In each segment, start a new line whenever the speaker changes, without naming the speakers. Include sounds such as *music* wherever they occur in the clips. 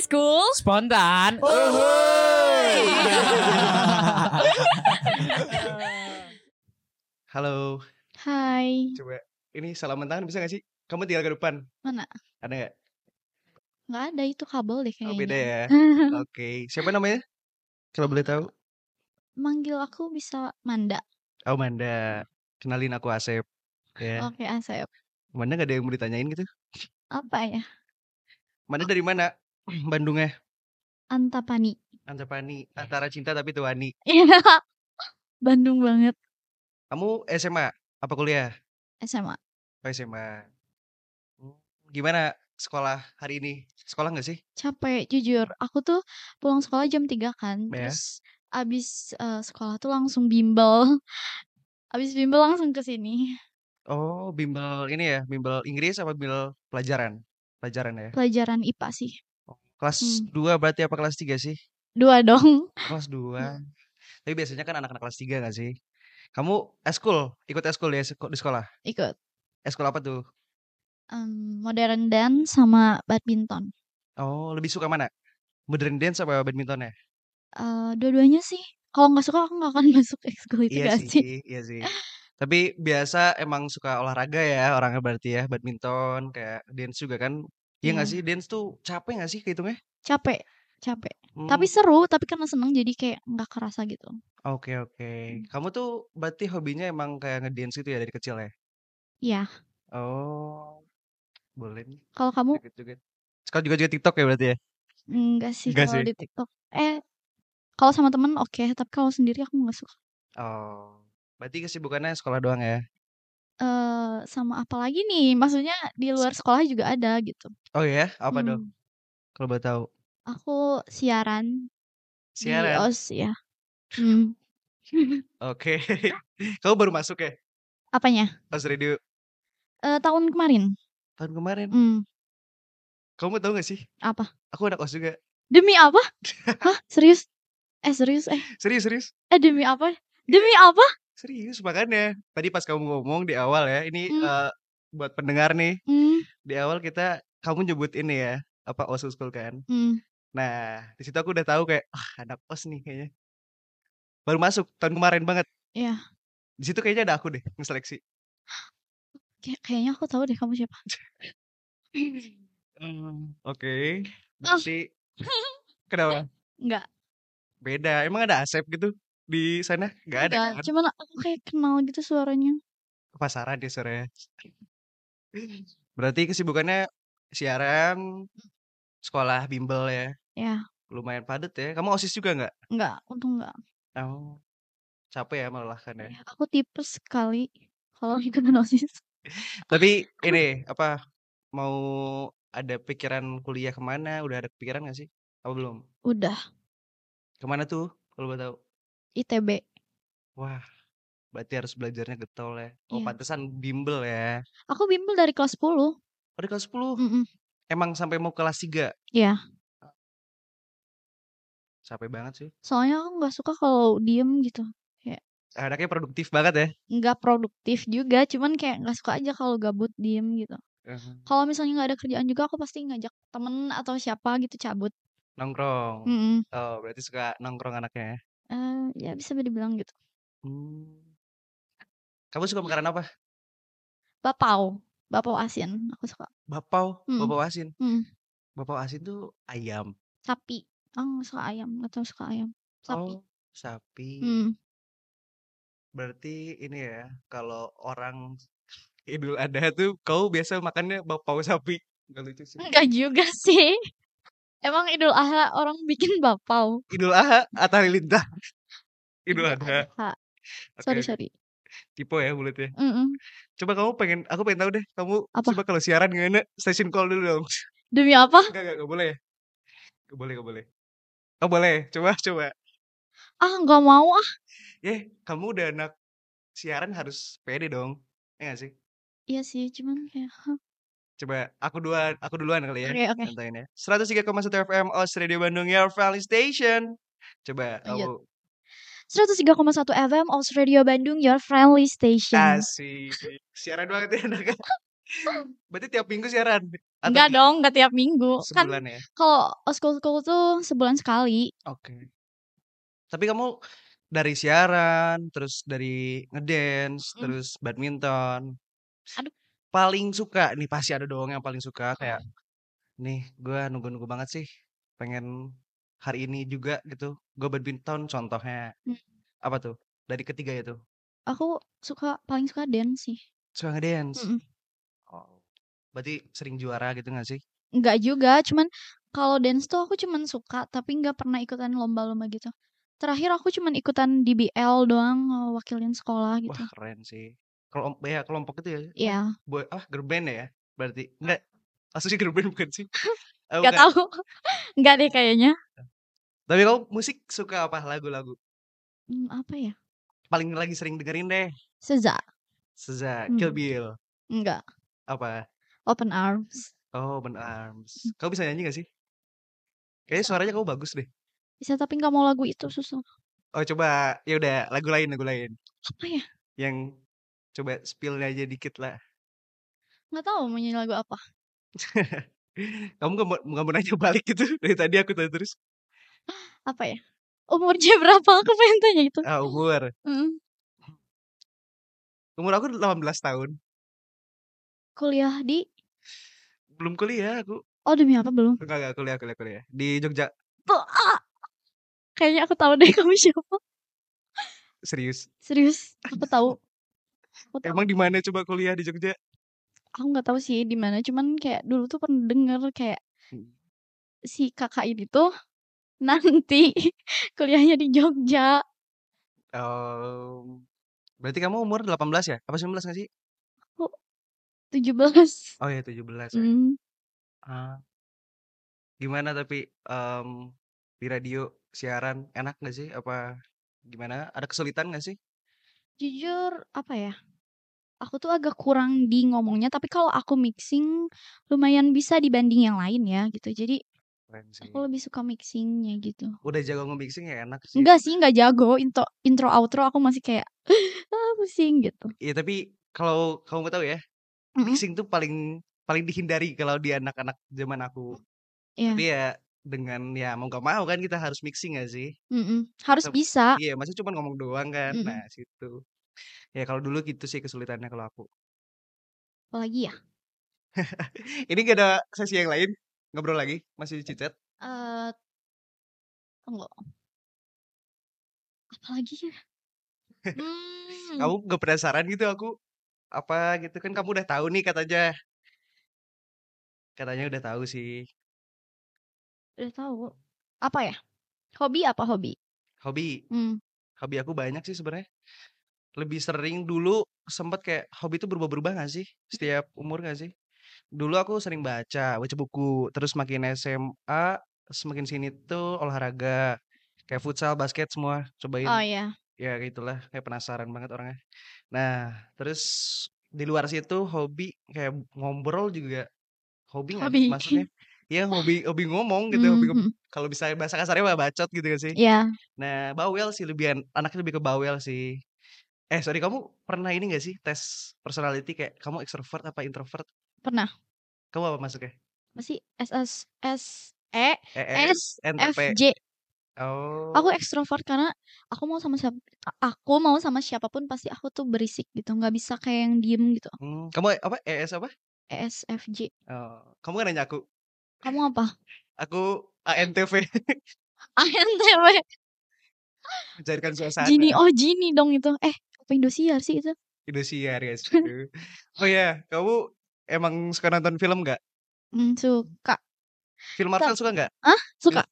school.
Spontan.
*laughs* Halo,
Hai,
coba ini salaman tangan bisa gak sih? Kamu tinggal ke depan.
Mana?
Ada gak?
nggak ada itu kabel deh
Oh,
kayaknya.
beda
*laughs*
ya. Oke, siapa namanya? Kalau boleh tahu?
Manggil aku bisa Manda.
Oh, Manda. Kenalin aku Asep. Ya.
Oke, Asep.
Manda gak ada yang mau ditanyain gitu?
Apa ya?
Manda dari mana? *clears throat* Bandungnya.
Antapani. *laughs*
Antapani, antara cinta tapi tuani.
Iya. Bandung banget
Kamu SMA apa kuliah?
SMA.
Oh, SMA. Hmm, Gimana sekolah hari ini? Sekolah gak sih?
Capek jujur. Aku tuh pulang sekolah jam 3 kan.
Ya.
Terus abis eh, sekolah tuh langsung bimbel. *laughs* Abis bimbel langsung ke sini.
Oh, bimbel ini ya, bimbel Inggris apa bimbel pelajaran? Pelajaran ya.
Pelajaran IPA sih.
Kelas
Hmm.
2 berarti apa kelas 3 sih?
Dua dong. *laughs*
Kelas
Hmm.
2. Tapi biasanya kan anak-anak kelas 3 gak sih? Kamu eskul, ikut eskul ya seko- di sekolah.
Ikut.
Eskul apa tuh?
Em, modern dance sama badminton.
Oh, lebih suka mana? Modern dance apa badminton ya?
Eh, dua-duanya sih. Kalau nggak suka aku nggak akan *laughs* masuk ekskul itu
Iya
nggak
sih, iya sih. Tapi biasa emang suka olahraga ya orangnya berarti ya, badminton kayak dance juga kan. Iya nggak
Iya.
sih? Dance tuh capek nggak sih kehitungnya?
Capek. Capek.
Hmm,
tapi seru tapi karena seneng jadi kayak nggak kerasa gitu
Oke oke.
Hmm.
Kamu tuh berarti hobinya emang kayak ngedance gitu ya dari kecil ya?
Iya.
Oh, boleh nih.
kalau kamu
Joget-joget. Sekarang juga juga TikTok ya berarti ya?
enggak sih
Nggak
kalau
sih.
di TikTok eh kalau sama temen oke tapi kalau sendiri aku nggak suka
Oh, berarti kesibukannya sekolah doang ya?
eh sama apa lagi nih maksudnya di luar sekolah juga ada gitu
Oh ya, apa dong?
Hmm,
Kalau boleh tahu.
aku siaran, di
Siaran.
os ya Hmm,
Oke. *laughs* Kamu baru masuk ya?
apanya
Pas radio
Eh tahun kemarin
tahun kemarin.
Hmm,
Kamu tahu gak sih?
Apa?
Aku anak OS juga.
demi
*laughs*
apa hah serius eh serius eh
Serius, serius.
eh demi apa demi apa
Serius, makanya. Tadi pas kamu ngomong di awal ya, ini
Hmm.
eh, buat pendengar nih.
Hmm,
Di awal kita, kamu nyebut ini ya, apa OS School kan.
hmm.
Nah, di situ aku udah tahu kayak, ah anak OS nih kayaknya. Baru masuk, tahun kemarin banget.
Iya.
Di situ kayaknya ada aku deh, ngeseleksi.
Kay- kayaknya aku tahu deh kamu siapa
Oke. Berarti, kenapa?
Enggak
Beda, emang ada Asep gitu di sana? Gak
Enggak,
ada kan?
cuman aku kayak kenal gitu suaranya.
Pasaran ya sore. Berarti kesibukannya siaran, sekolah bimbel ya.
Ya.
Lumayan padat ya. Kamu OSIS juga nggak?
Enggak, untung enggak.
Oh. Capek ya melelahkan ya.
Ya, Aku tipes sekali kalau ikutan OSIS.
Tapi
*laughs*
ini apa mau ada pikiran kuliah kemana? Udah ada pikiran nggak sih? Apa belum?
Udah,
Kemana tuh? Kalau boleh tahu.
ITB.
Wah, berarti harus belajarnya getol ya. Oh,
Iya.
pantesan bimbel ya.
Aku bimbel dari kelas 10.
Oh, di kelas 10
Mm-mm.
emang sampai mau kelas 3.
Iya.
Capek banget sih.
Soalnya aku nggak suka kalau diem gitu.
Eh, Anaknya produktif banget
*laughs*
ya.
Nggak produktif juga, cuman kayak nggak suka aja kalau gabut diem gitu. Kalau misalnya nggak ada kerjaan juga, aku pasti ngajak temen atau siapa gitu cabut.
Nongkrong.
Mm-mm.
Oh, berarti suka nongkrong anaknya ya.
Eh, ya bisa dibilang gitu.
Hmm. Kamu suka makanan apa?
Bapau, bapau asin, aku suka.
Bapau,
Mm-mm.
bapau asin.
Mm.
Bapau asin tuh ayam.
Sapi, aku nggak suka ayam, nggak tahu suka ayam. Sapi.
Oh, sapi.
Mm.
Berarti ini ya, kalau orang Idul Adha tuh kau biasa makannya bapau sapi. Nggak lucu sih.
Hmm, Enggak juga *laughs* sih. Emang Idul Adha orang bikin bapau.
Idul Adha atau Halilintar?
*laughs*
Idul Adha.
Adha.
gitu kan, Oke,
Iya, Sorry,
oke.
sorry.
Tipe ya bulat ya.
Mm-mm.
Coba kamu pengen, aku pengen tahu deh. Kamu
Apa?
coba kalau siaran gimana? Station call dulu dong. *laughs*
Demi apa?
Enggak, enggak, enggak boleh ya? Enggak boleh, enggak boleh. Oh boleh, coba, coba.
Ah, nggak mau ah.
Eh, kamu udah anak siaran harus pede dong. Ya gak sih?
Iya sih, cuman kayak
Coba aku duluan, aku duluan kali ya.
Oke, oke.
Tantain ya. 103,1 FM OS Radio oh, Bandung Your Valley Station. Coba
Lanjut.
aku
103,1 FM Aus Radio Bandung Your Friendly Station.
kasih siaran banget ya *laughs* anak. Berarti tiap minggu siaran? Atau
Enggak
di-
dong, enggak tiap minggu. Kan
Sebulan ya?
kalau oskul school tuh sebulan sekali.
Oke. Tapi kamu dari siaran, terus dari ngedance,
Mm.
terus badminton.
Aduh.
Paling suka nih pasti ada dong yang paling suka kayak nih gua nunggu-nunggu banget sih pengen hari ini juga gitu. Gua badminton contohnya.
Mm.
Apa tuh? Dari ketiga itu.
Aku suka paling suka dance sih.
Suka ngedance.
Mm-mm.
Oh. Berarti sering juara gitu gak sih?
Enggak juga, cuman kalau dance tuh aku cuman suka tapi enggak pernah ikutan lomba-lomba gitu. Terakhir aku cuman ikutan DBL doang eh, wakilin sekolah gitu.
Wah, keren sih. Kelom ya kelompok itu ya.
Iya,
Boy, ah girl band ya berarti. Enggak. Maksudnya girl band
*laughs*
bukan sih? Ah,
enggak
bukan.
tahu. *laughs* Enggak deh kayaknya.
Tapi kamu musik suka apa lagu-lagu?
Hmm, apa ya?
Paling lagi sering dengerin deh.
Seza.
Seza,
Hmm.
Kill Bill.
Enggak.
Apa?
Open Arms.
Oh, Ben Arms. Kamu bisa nyanyi gak sih? Kayaknya
Hmm. Bisa.
suaranya kamu bagus deh.
Bisa tapi enggak mau lagu itu susah.
Oh, coba. Ya udah, lagu lain, lagu lain.
Apa ya?
Yang coba spill aja dikit lah.
Enggak tahu mau nyanyi lagu apa.
kamu nggak mau nggak mau nanya *laughs* balik gitu dari tadi aku tanya terus
Apa ya? Umurnya *laughs* berapa? Aku pengen tanya gitu.
ah, umur
Mm.
umur aku 18 tahun
Kuliah di
belum kuliah aku
Oh demi apa belum?
enggak enggak kuliah kuliah kuliah di Jogja
Tuh, ah. Kayaknya aku tahu deh kamu *laughs* siapa.
serius
Serius, aku tahu. Aku tahu.
emang di mana coba kuliah di Jogja
Aku nggak tahu sih di mana, cuman kayak dulu tuh pernah denger kayak
Hmm.
si kakak ini tuh nanti *laughs* kuliahnya di Jogja.
Ehm, berarti kamu umur 18 ya? Apa 19 gak sih?
17.
Oh ya 17 ya.
Hmm,
Ah, gimana tapi em, di radio siaran enak gak sih? Apa gimana? Ada kesulitan gak sih?
jujur apa ya? Aku tuh agak kurang di ngomongnya, tapi kalau aku mixing lumayan bisa dibanding yang lain ya gitu. Jadi
Keren sih.
aku lebih suka mixingnya gitu.
Udah jago nge-mixing ya enak sih.
Enggak sih, enggak jago. Intro, intro outro aku masih kayak ah, pusing gitu.
Iya tapi kalau kamu mau tahu ya,
Mm-mm.
mixing tuh paling paling dihindari kalau di anak-anak zaman aku.
Iya.
Tapi ya dengan ya mau gak mau kan kita harus mixing gak sih?
Mm-mm. Harus
Tep-
bisa.
Iya, maksudnya cuma ngomong doang kan.
Mm-mm.
Nah, situ. Ya kalau dulu gitu sih kesulitannya kalau aku.
Apalagi ya?
Ini gak ada sesi yang lain ngobrol lagi masih di chat.
Eh, tunggu. Apalagi
*laughs*
ya? Hmm,
Kamu gak penasaran gitu aku apa gitu kan kamu udah tahu nih katanya. Katanya udah tahu sih.
udah tahu. Apa ya? Hobi apa hobi?
Hobi,
Hmm.
hobi aku banyak sih sebenarnya. Lebih sering dulu sempat kayak hobi itu berubah-berubah gak sih? Setiap umur gak sih? Dulu aku sering baca, baca buku. Terus makin SMA, semakin sini tuh olahraga. Kayak futsal, basket semua cobain.
Oh ya.
ya kayak itulah kayak penasaran banget orangnya nah terus di luar situ hobi kayak ngobrol juga hobi nggak
*laughs* Hobi.
maksudnya ya hobi hobi ngomong gitu hobi ngob-
Mhm.
kalau bisa bahasa kasarnya mah bacot gitu gak sih
Ya,
nah bawel sih lebih an- anaknya lebih ke bawel sih eh sorry kamu pernah ini gak sih tes personality kayak kamu extrovert apa introvert
pernah.
kamu apa masuknya
Masih SS S E S F
ENTP
J.
oh
Aku ekstrovert karena aku mau sama siapa aku mau sama siapapun pasti aku tuh berisik gitu, nggak bisa kayak yang diem gitu. E,
hmm, kamu apa ES apa
ESFJ.
oh, kamu kan nanya aku
Kamu apa? *laughs*
aku ANTV
ANTW.
mencairkan suasana
Jini, oh Jini dong itu. Eh, apa Indosiar sih itu?
Indosiar ya
*laughs*
guys. Aduh. Oh ya, kamu emang suka nonton film nggak?
Hmm, suka.
Film Marvel suka nggak?
Suka.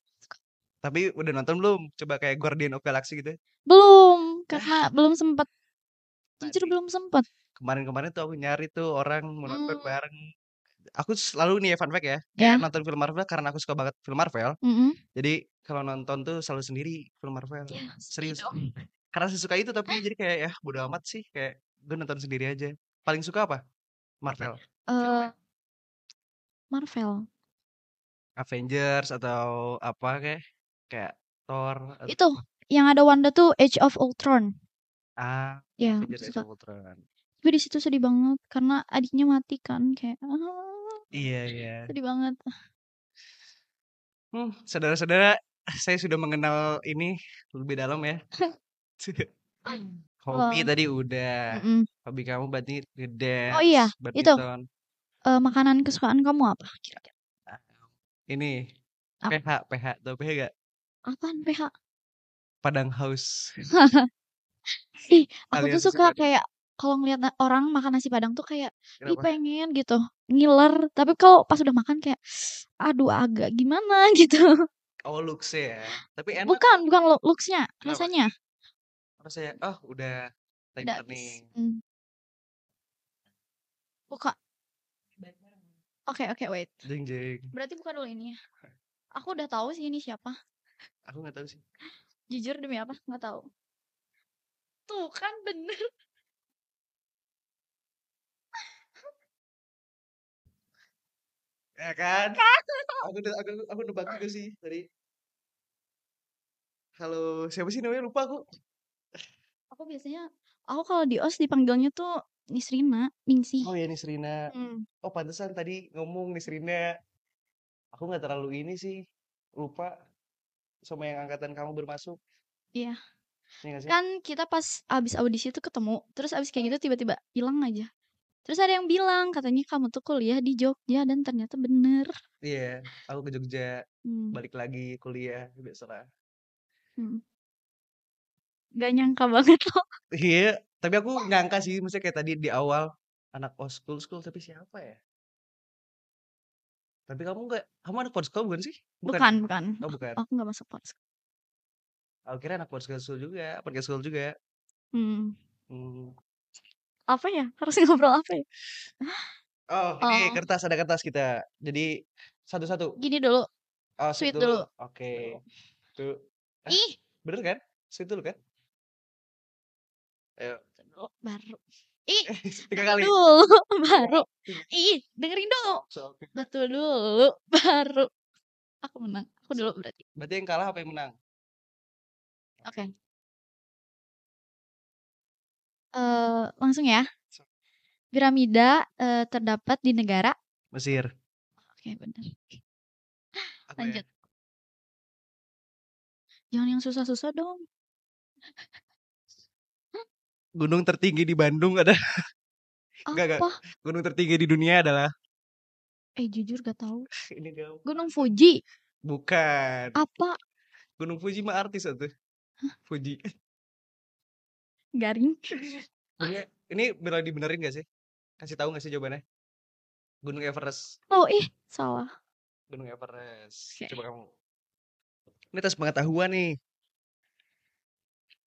Tapi udah nonton belum? Coba kayak Guardian of Galaxy gitu.
Belum, karena belum sempat. Jujur
Tadi.
belum sempat.
Kemarin-kemarin tuh aku nyari tuh orang mau nonton
Hmm.
bareng. Aku selalu nih ya fun fact ya,
Ya.
nonton film Marvel karena aku suka banget film Marvel.
Mm-mm. Eh,
Jadi kalau nonton tuh selalu sendiri film Marvel.
Ya,
Serius.
dong. Eh.
Karena saya suka itu tapi jadi kayak ya bodo amat sih kayak gue nonton sendiri aja. Paling suka apa? Marvel.
Eh, Marvel.
Avengers atau apa kayak kayak Thor
Iya,
atau
Itu yang ada Wanda tuh Age of Ultron.
ah
Ya,
Avengers Age
suka.
of Ultron.
Tapi di situ sedih banget karena adiknya mati kan kayak ah,
Iya, iya.
sedih banget.
Hmm, saudara-saudara, saya sudah mengenal ini lebih dalam
*laughs*
ya. Hobi
Oh.
tadi udah.
Mm-mm.
Hobi kamu berarti gede.
Oh iya, itu.
badminton.
Eh, makanan kesukaan kamu apa? Kira-kira
Ini
Apa?
PH, PH, tau PH gak?
apaan PH?
Padang House.
*laughs* Ih, aku
Alias
tuh suka
kesukaan.
kayak kalau ngeliat na- orang makan nasi Padang tuh kayak ih
Kenapa?
pengen gitu, ngiler. Tapi kalau pas udah makan kayak aduh agak gimana *laughs* gitu.
Oh, looks ya. Tapi enak
Bukan, bukan lo- looks-nya,
Kenapa?
rasanya.
apa saya? Oh, udah lagi
Udah
turning.
habis. Hmm. Buka. Oke, oke, wait.
Jeng jeng.
Berarti buka dulu ini. ya. Aku udah tahu sih ini siapa.
Aku gak tahu sih.
Jujur demi apa? Nggak tahu. Tuh kan bener.
Ya kan?
*laughs*
Aku ne- aku aku nebak juga sih tadi. Halo, siapa sih namanya? Lupa aku.
Aku biasanya aku kalau di OS dipanggilnya tuh Nisrina, Ningsih.
Oh ya Nisrina.
Hmm.
Oh pantesan tadi ngomong Nisrina. Aku nggak terlalu ini sih. Lupa sama yang angkatan kamu bermasuk.
Iya.
Iya nggak sih?
Kan kita pas abis audisi tuh ketemu, terus abis
Hmm.
kayak gitu tiba-tiba hilang aja. Terus ada yang bilang katanya kamu tuh kuliah di Jogja dan ternyata bener.
Iya. Aku ke Jogja,
Hmm.
balik lagi kuliah biasalah.
hmm. Gak nyangka banget loh.
Iya. Tapi aku nyangka sih, maksudnya kayak tadi di awal anak oskul school tapi siapa ya? Tapi kamu nggak, kamu anak oskul bukan sih? ya?
Bukan, bukan.
Oh bukan.
Aku nggak masuk pos.
Aku kira anak podcast school juga, podcast school juga.
Hmm.
Hmm.
Apa ya? Harus ngobrol apa ya?
Oh, ini
Oh.
kertas ada kertas kita. Jadi satu-satu.
Gini dulu.
Oh,
Sweet
sweet
dulu.
Oke. Tuh, Hah?
Ih,
bener kan? Sweet dulu kan? Ayo,
dulu, baru. Ih,
tiga
dengerin
kali. ya?
dulu, *laughs* baru. Ih, dengerin dulu.
So, oke.
Betul dulu, *laughs* baru. Aku menang. Aku dulu berarti.
berarti yang kalah apa yang menang?
Oke. Eh, langsung ya. Piramida eh, terdapat di negara.
Mesir.
Oke, benar.
Apa ya?
Lanjut. Jangan yang susah-susah dong.
Gunung tertinggi di Bandung ada. *laughs*
Apa?
Nggak, nggak. Gunung tertinggi di dunia adalah *laughs*
Eh, jujur gak tahu.
ini dia.
Gunung Fuji.
Bukan.
Apa?
Gunung Fuji mah artis atau? Fuji.
Garing. *laughs*
Ini- Ini beneran dibenerin gak sih? Kasih tahu gak sih jawabannya? Gunung Everest.
Oh, ih, salah.
Gunung Everest.
Oke.
Coba kamu. Ini tes pengetahuan nih.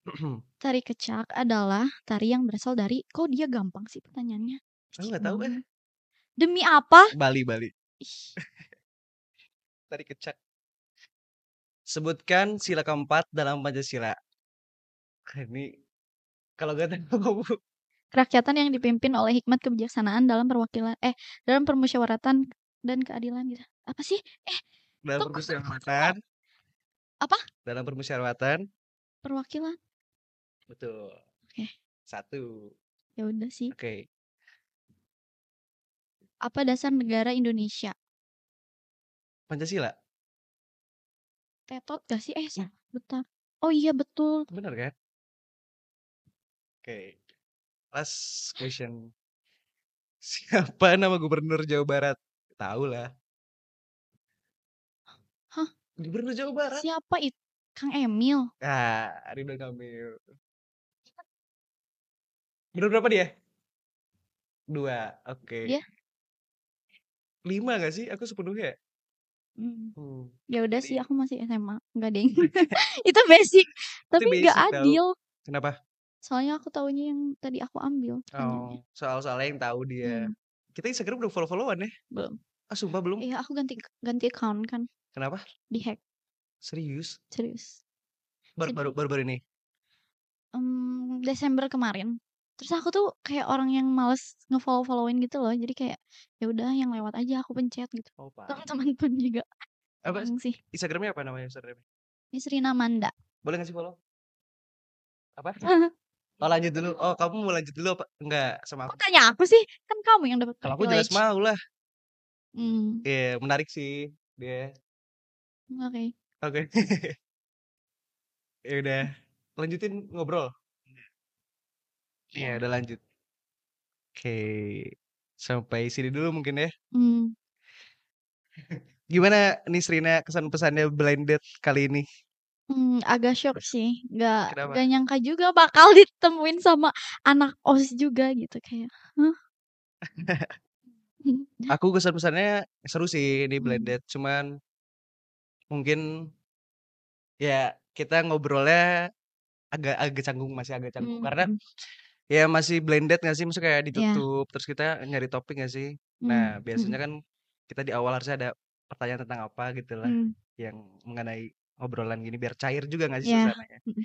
*clears throat*
Tari kecak adalah tari yang berasal dari kok dia gampang sih pertanyaannya.
Aku nggak tahu, eh.
Gimana? Demi apa?
Bali, Bali.
Ih,
Tari kecak. Sebutkan sila keempat dalam Pancasila. Ini kalau gak tahu *laughs* kamu
Kerakyatan yang dipimpin oleh hikmat kebijaksanaan dalam perwakilan eh dalam permusyawaratan dan keadilan gitu. Apa sih? Eh,
dalam
Tuh,
permusyawaratan.
Apa?
Dalam permusyawaratan.
perwakilan.
Betul.
Oke.
Satu.
Ya udah sih.
Oke.
Apa dasar negara Indonesia?
Pancasila.
Tetot gak sih? Eh,
Iya.
salah. Bentar. Oh iya betul.
Bener kan? Oke. Last question. *laughs* Siapa nama gubernur Jawa Barat? Tahu lah.
Hah?
Gubernur Jawa Barat?
Siapa itu? Kang Emil.
Ah, Ridwan Kamil. Bener berapa dia? Dua. Oke.
Dia?
Lima gak sih? Aku sepenuhnya. ya?
Hmm.
Hmm.
Ya udah sih
Jadi-
aku masih SMA. Enggak
*laughs*
ding. *laughs* itu basic. Tapi nggak
basic tau.
adil.
Kenapa?
Soalnya aku taunya yang tadi aku ambil.
Oh,
tanyanya.
soal-soalnya yang tahu dia.
Hmm.
Kita Instagram udah follow-followan ya?
Belum.
Ah, sumpah belum.
Iya, aku ganti ganti account kan
Kenapa?
di hack
Serius?
serius.
Baru
Sedih.
baru baru, baru ini.
Em, mmm, Desember kemarin. Terus aku tuh kayak orang yang males ngefollow-followin gitu loh. Jadi kayak ya udah yang lewat aja aku pencet gitu. *laughs*
Oh, Pak.
Teman-teman pun juga
Apa
seneng sih.
Instagramnya apa namanya Instagramnya?
Ini Srina Manda.
*laughs* Boleh ngasih follow? Apa? Oh lanjut dulu. Oh kamu mau lanjut dulu apa? Enggak sama aku.
Kok tanya aku sih? Kan kamu yang dapat
Kalau aku jelas
privilege.
mau lah.
Hmm,
Iya menarik sih dia.
oke.
Oke. *laughs* ya udah lanjutin ngobrol. Iya udah lanjut. Oke sampai sini dulu mungkin ya.
Hmm.
Gimana Nisrina kesan pesannya blended kali ini?
Hmm, agak shock sih, nggak
Kenapa?
nggak nyangka juga bakal *laughs* ditemuin sama anak os juga gitu kayak. Hah?
Aku kesan pesannya seru sih di
Hmm.
blended. Cuman mungkin ya kita ngobrolnya agak agak canggung masih agak canggung karena
Hmm,
ya masih blended nggak sih maksudnya kayak
Iya.
ditutup terus kita nyari topik nggak sih
hmm,
nah biasanya
hmm,
kan kita di awal harusnya ada pertanyaan tentang apa gitu lah
hmm.
yang mengenai obrolan gini biar cair juga nggak sih
Iya.
suasananya
Mm-mm.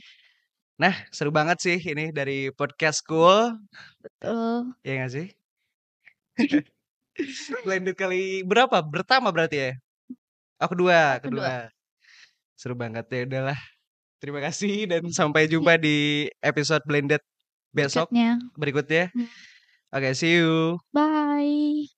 nah seru banget sih ini dari podcast school
Betul.
ya nggak sih blended kali berapa pertama berarti ya oh kedua kedua
Kedua.
seru banget ya udahlah terima kasih dan sampai jumpa di episode blended besok
Berikutnya.
berikutnya
Mm.
oke see you
Bye.